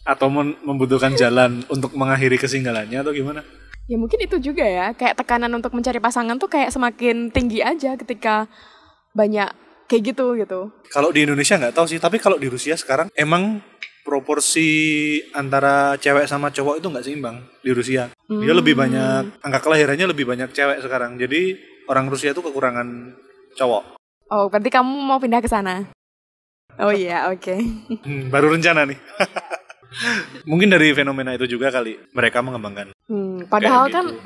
Speaker 1: atau men- membutuhkan jalan untuk mengakhiri kesinggalannya atau gimana?
Speaker 2: ya mungkin itu juga ya kayak tekanan untuk mencari pasangan tuh kayak semakin tinggi aja ketika banyak kayak gitu gitu
Speaker 1: Kalau di Indonesia nggak tahu sih, tapi kalau di Rusia sekarang emang proporsi antara cewek sama cowok itu nggak seimbang di Rusia. Dia lebih
Speaker 2: Hmm.
Speaker 1: banyak angka kelahirannya lebih banyak cewek sekarang. Jadi orang Rusia itu kekurangan cowok.
Speaker 2: oh berarti kamu mau pindah ke sana oh iya oke
Speaker 1: Hmm, baru rencana nih. Mungkin dari fenomena itu juga kali mereka mengembangkan.
Speaker 2: Hmm, padahal
Speaker 1: Kayak
Speaker 2: kan
Speaker 1: gitu.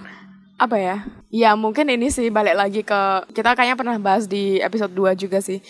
Speaker 2: apa ya? Ya mungkin ini sih balik lagi ke kita kayaknya pernah bahas di episode 2 juga sih.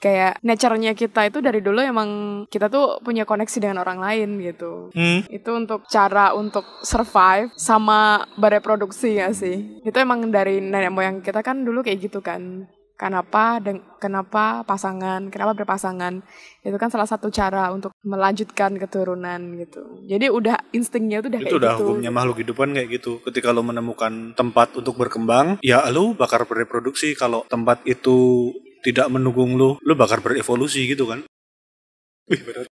Speaker 2: Kayak nature-nya kita itu dari dulu emang kita tuh punya koneksi dengan orang lain gitu.
Speaker 1: Hmm,
Speaker 2: Itu untuk cara untuk survive sama bereproduksi ya sih. Itu emang dari nenek moyang kita kan dulu kayak gitu kan. Kenapa dan kenapa pasangan, kenapa berpasangan. Itu kan salah satu cara untuk melanjutkan keturunan gitu. Jadi udah instingnya tuh udah
Speaker 1: itu
Speaker 2: kayak
Speaker 1: udah
Speaker 2: gitu.
Speaker 1: hukumnya makhluk hidupan kayak gitu. Ketika lo menemukan tempat untuk berkembang, ya lo bakar bereproduksi. Kalau tempat itu tidak mendukung lo, lo bakar berevolusi gitu kan. Wih, berat.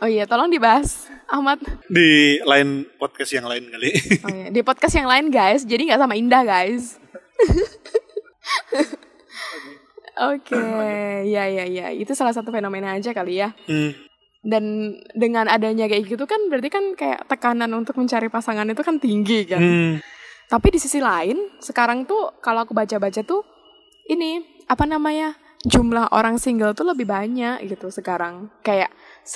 Speaker 2: Oh iya, tolong dibahas Ahmad.
Speaker 1: Di lain podcast yang lain kali.
Speaker 2: Oh iya, di podcast yang lain guys, jadi nggak sama Indah guys. Oke, ya ya ya, itu salah satu fenomena aja kali ya.
Speaker 1: Hmm,
Speaker 2: Dan dengan adanya kayak gitu kan, berarti kan kayak tekanan untuk mencari pasangan itu kan tinggi kan.
Speaker 1: hmm.
Speaker 2: Tapi di sisi lain, sekarang tuh kalau aku baca-baca tuh ini apa namanya? jumlah orang single tuh lebih banyak gitu sekarang. Kayak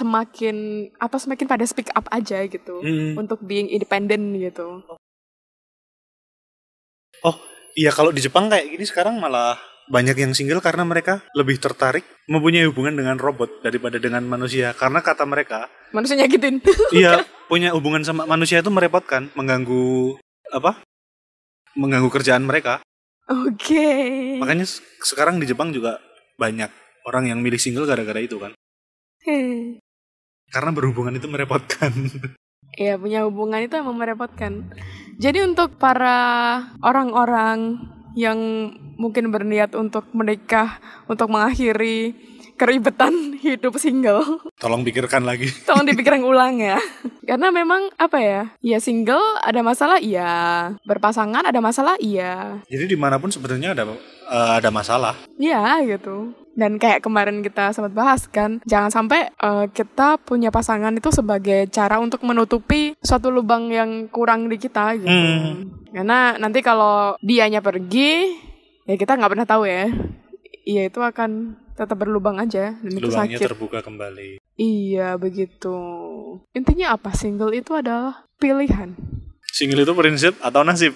Speaker 2: semakin atau semakin pada speak up aja gitu
Speaker 1: Hmm.
Speaker 2: untuk being independent gitu.
Speaker 1: Oh, Iya kalau di Jepang kayak gini sekarang malah banyak yang single karena mereka lebih tertarik mempunyai hubungan dengan robot daripada dengan manusia karena kata mereka
Speaker 2: manusia nyakitin
Speaker 1: iya punya hubungan sama manusia itu merepotkan mengganggu apa mengganggu kerjaan mereka
Speaker 2: oke Iya.
Speaker 1: makanya se- sekarang di Jepang juga banyak orang yang milih single gara-gara itu kan
Speaker 2: Hmm.
Speaker 1: karena berhubungan itu merepotkan
Speaker 2: Iya punya hubungan itu emang merepotkan. Jadi untuk para orang-orang yang mungkin berniat untuk menikah, untuk mengakhiri keribetan hidup single,
Speaker 1: tolong pikirkan lagi
Speaker 2: tolong dipikirkan ulang ya. Karena memang apa ya, ya single ada masalah iya, berpasangan ada masalah iya,
Speaker 1: jadi dimanapun sebenarnya ada eh, ada masalah
Speaker 2: Iya gitu. Dan kayak kemarin kita sempat bahas kan, jangan sampai eh, kita punya pasangan itu sebagai cara untuk menutupi suatu lubang yang kurang di kita gitu.
Speaker 1: Hmm.
Speaker 2: Karena nanti kalau dianya pergi, ya kita nggak pernah tahu ya. Iya itu akan tetap berlubang aja dan itu
Speaker 1: lubangnya
Speaker 2: sakit.
Speaker 1: terbuka kembali
Speaker 2: iya begitu. Intinya apa? Single itu adalah pilihan.
Speaker 1: single itu prinsip atau nasib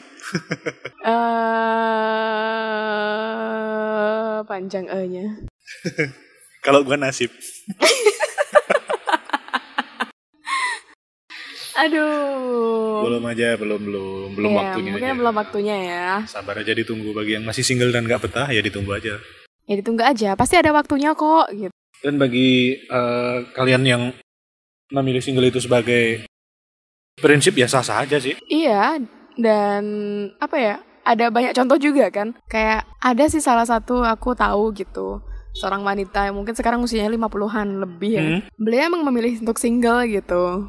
Speaker 2: eh panjang E-nya.
Speaker 1: kalau gua nasib
Speaker 2: Aduh.
Speaker 1: belum aja belum belum belum
Speaker 2: Oh. Iya,
Speaker 1: waktunya
Speaker 2: Mungkin
Speaker 1: aja.
Speaker 2: belum waktunya ya.
Speaker 1: sabar aja ditunggu bagi yang masih single dan nggak betah ya ditunggu aja
Speaker 2: Ya ditunggu aja, pasti ada waktunya kok gitu.
Speaker 1: Dan bagi eh, kalian yang memilih single itu sebagai prinsip ya sah-sah aja sih.
Speaker 2: Iya, dan apa ya? Ada banyak contoh juga kan. Kayak ada sih salah satu aku tahu gitu. Seorang wanita yang mungkin sekarang usianya 50-an lebih ya.
Speaker 1: Hmm.
Speaker 2: Beliau emang memilih untuk single gitu.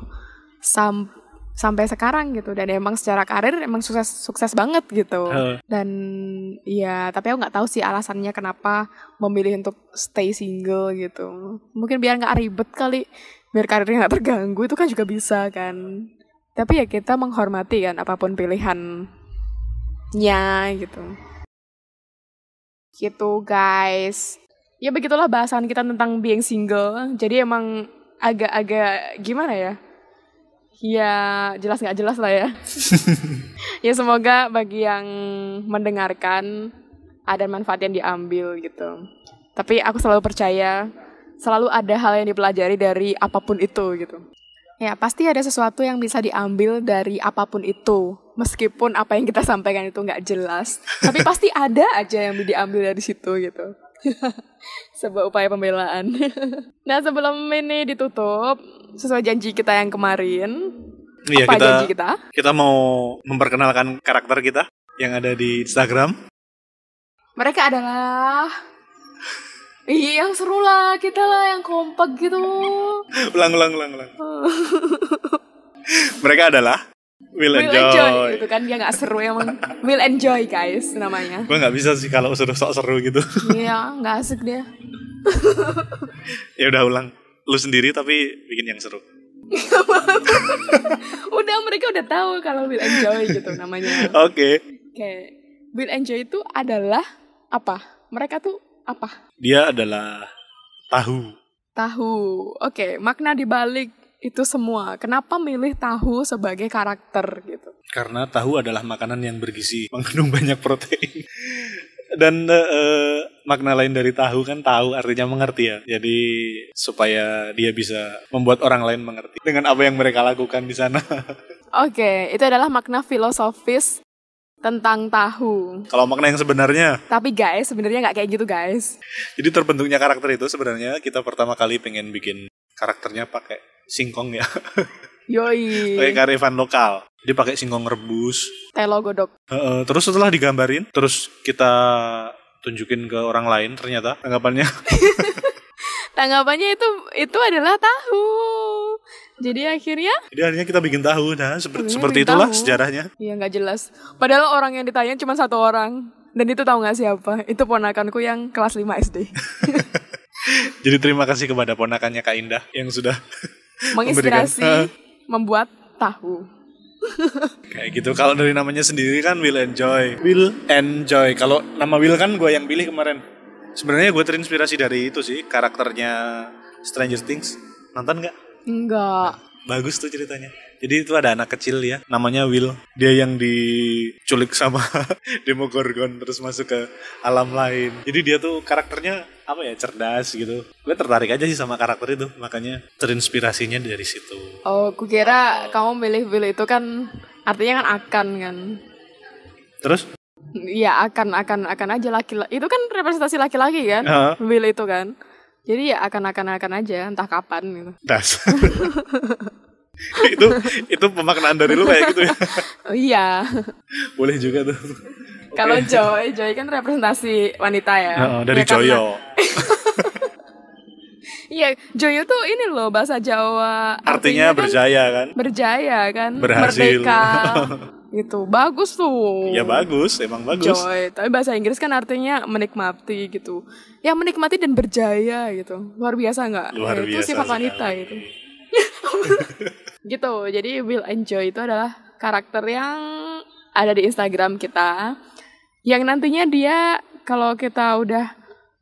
Speaker 2: Sam- sampai sekarang gitu dan emang secara karir emang sukses sukses banget gitu.
Speaker 1: Eh,
Speaker 2: dan ya tapi aku nggak tahu sih alasannya kenapa memilih untuk stay single gitu mungkin biar nggak ribet kali biar karirnya nggak terganggu itu kan juga bisa kan tapi ya kita menghormati kan apapun pilihannya gitu gitu guys ya begitulah bahasan kita tentang being single jadi emang agak-agak gimana ya ya jelas nggak jelas lah ya ya semoga bagi yang mendengarkan ada manfaat yang diambil gitu. Tapi aku selalu percaya selalu ada hal yang dipelajari dari apapun itu gitu. Ya pasti ada sesuatu yang bisa diambil dari apapun itu. Meskipun apa yang kita sampaikan itu nggak jelas, tapi pasti ada aja yang diambil dari situ gitu. Sebuah upaya pembelaan. nah sebelum ini ditutup, sesuai janji kita yang kemarin,
Speaker 1: Iya
Speaker 2: apa
Speaker 1: kita
Speaker 2: janji kita?
Speaker 1: kita mau memperkenalkan karakter kita yang ada di Instagram.
Speaker 2: Mereka adalah Iya yang seru lah kita lah yang kompak gitu.
Speaker 1: ulang ulang ulang ulang.
Speaker 2: Oh.
Speaker 1: Mereka adalah Will,
Speaker 2: Will
Speaker 1: and Joy.
Speaker 2: enjoy gitu kan dia nggak seru emang. Will enjoy guys namanya.
Speaker 1: Gue nggak bisa sih kalau suruh sok seru gitu.
Speaker 2: Iya nggak asik dia.
Speaker 1: ya udah ulang lu sendiri tapi bikin yang seru.
Speaker 2: Udah mereka udah tahu kalau Will enjoy gitu namanya.
Speaker 1: Oke.
Speaker 2: Oke Will enjoy itu adalah apa? Mereka tuh apa?
Speaker 1: Dia adalah tahu.
Speaker 2: Tahu. Oke makna dibalik itu semua. Kenapa milih tahu sebagai karakter gitu?
Speaker 1: karena tahu adalah makanan yang bergizi mengandung banyak protein dan eh, eh, makna lain dari tahu kan tahu artinya mengerti ya jadi supaya dia bisa membuat orang lain mengerti dengan apa yang mereka lakukan di sana
Speaker 2: Oke, itu adalah makna filosofis tentang tahu.
Speaker 1: kalau makna yang sebenarnya
Speaker 2: Tapi guys, sebenarnya nggak kayak gitu guys.
Speaker 1: jadi terbentuknya karakter itu sebenarnya kita pertama kali pengen bikin karakternya pakai singkong ya
Speaker 2: Yoi,
Speaker 1: pakai karifan lokal jadi pakai singkong rebus
Speaker 2: telo godok.
Speaker 1: Heeh, terus setelah digambarin terus kita tunjukin ke orang lain ternyata tanggapannya
Speaker 2: Tanggapannya itu itu adalah tahu. Jadi akhirnya
Speaker 1: Jadi akhirnya kita bikin tahu, nah seperti,
Speaker 2: Akhirnya
Speaker 1: seperti
Speaker 2: Hmm, bikin
Speaker 1: itulah
Speaker 2: tahu.
Speaker 1: sejarahnya.
Speaker 2: ya nggak jelas. Padahal orang yang ditanya cuma satu orang. Dan itu tahu nggak siapa? Itu ponakanku yang kelas 5 SD.
Speaker 1: Jadi terima kasih kepada ponakannya Kak Indah yang sudah memberikan, eh,
Speaker 2: Menginspirasi membuat tahu.
Speaker 1: kayak gitu. Kalau dari namanya sendiri kan Will Enjoy. Will Enjoy. Kalau nama Will kan gue yang pilih kemarin. Sebenarnya gue terinspirasi dari itu sih karakternya Stranger Things. Nonton nggak?
Speaker 2: Enggak.
Speaker 1: Bagus tuh ceritanya. Jadi itu ada anak kecil ya, namanya Will. Dia yang diculik sama Demogorgon terus masuk ke alam lain. Jadi dia tuh karakternya apa ya cerdas gitu. Gue tertarik aja sih sama karakter itu, makanya terinspirasinya dari situ.
Speaker 2: Oh, kukira kamu milih Will itu kan artinya kan akan kan.
Speaker 1: Terus?
Speaker 2: Iya, akan akan akan aja laki-laki. Itu kan representasi laki-laki kan?
Speaker 1: Heeh.
Speaker 2: Will itu kan. Jadi ya akan akan akan aja entah kapan gitu.
Speaker 1: dasar. itu itu pemaknaan dari lu kayak gitu ya.
Speaker 2: Oh, iya.
Speaker 1: Boleh juga tuh.
Speaker 2: Kalau Joy, Joy kan representasi wanita ya.
Speaker 1: Heeh, Oh, dari
Speaker 2: Ya, karena-
Speaker 1: Joyo.
Speaker 2: Iya, Joyo tuh ini loh bahasa Jawa.
Speaker 1: Artinya
Speaker 2: kan
Speaker 1: berjaya kan?
Speaker 2: berjaya kan,
Speaker 1: Berhasil.
Speaker 2: merdeka. gitu. Bagus tuh.
Speaker 1: Ya bagus, emang bagus.
Speaker 2: Joy, tapi bahasa Inggris kan artinya menikmati gitu. Ya menikmati dan berjaya gitu. Luar biasa nggak?
Speaker 1: Luar
Speaker 2: Ya,
Speaker 1: biasa.
Speaker 2: Itu sifat wanita
Speaker 1: sekali.
Speaker 2: gitu. Gitu. Jadi Will and Joy itu adalah karakter yang ada di Instagram kita. Yang nantinya dia kalau kita udah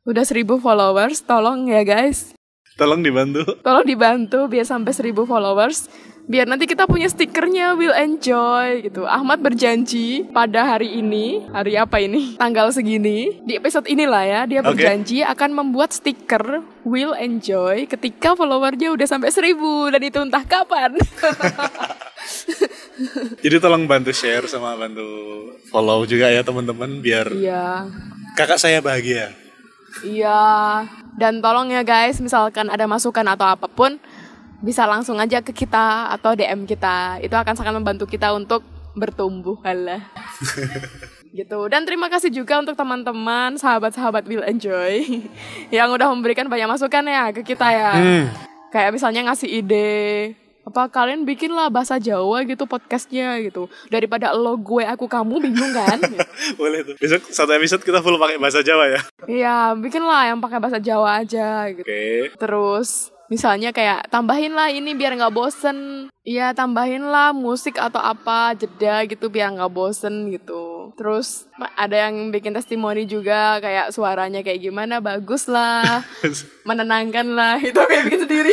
Speaker 2: udah 1000 followers, tolong ya guys.
Speaker 1: Tolong dibantu.
Speaker 2: Tolong dibantu biar sampai 1000 followers. Biar nanti kita punya stikernya Will and Joy gitu. Ahmad berjanji pada hari ini, hari apa ini? Tanggal segini, di episode inilah ya, dia
Speaker 1: Oke.
Speaker 2: berjanji akan membuat stiker Will and Joy ketika followernya udah sampai 1000 dan itu entah kapan.
Speaker 1: Jadi tolong bantu share sama bantu follow juga ya teman-teman biar
Speaker 2: Iya,
Speaker 1: kakak saya bahagia.
Speaker 2: iya. Dan tolong ya guys, misalkan ada masukan atau apapun, bisa langsung aja ke kita atau DM kita. Itu akan sangat membantu kita untuk bertumbuh, halah. gitu. Dan terima kasih juga untuk teman-teman, sahabat-sahabat Will Enjoy yang udah memberikan banyak masukan ya ke kita ya.
Speaker 1: Hmm.
Speaker 2: Kayak misalnya ngasih ide apa kalian bikinlah bahasa Jawa gitu podcastnya gitu daripada lo gue aku kamu bingung kan
Speaker 1: Boleh tuh. Besok satu episode kita full pakai bahasa Jawa ya.
Speaker 2: Iya, bikinlah yang pakai bahasa Jawa aja gitu.
Speaker 1: Oke.
Speaker 2: Terus misalnya kayak tambahinlah ini biar nggak bosen. Iya, tambahinlah musik atau apa jeda gitu biar nggak bosen gitu. Terus ada yang bikin testimoni juga kayak suaranya kayak gimana bagus lah, menenangkan lah. Itu kayak bikin sendiri.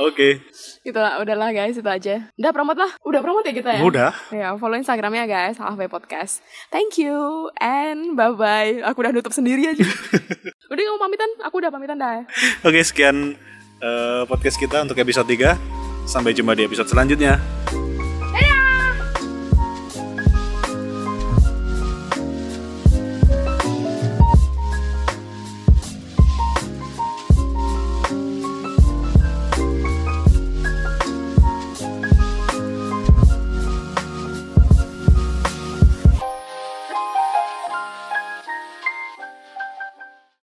Speaker 1: Oke.
Speaker 2: gitu lah, udahlah guys itu aja. Udah promote lah, udah promote ya kita ya.
Speaker 1: Udah.
Speaker 2: Ya, follow Instagramnya guys, HFB Podcast. Thank you, and bye-bye. Aku udah nutup sendiri aja. udah kamu pamitan? Aku udah pamitan dah.
Speaker 1: Oke, sekian eh, podcast kita untuk episode 3. Sampai jumpa di episode selanjutnya.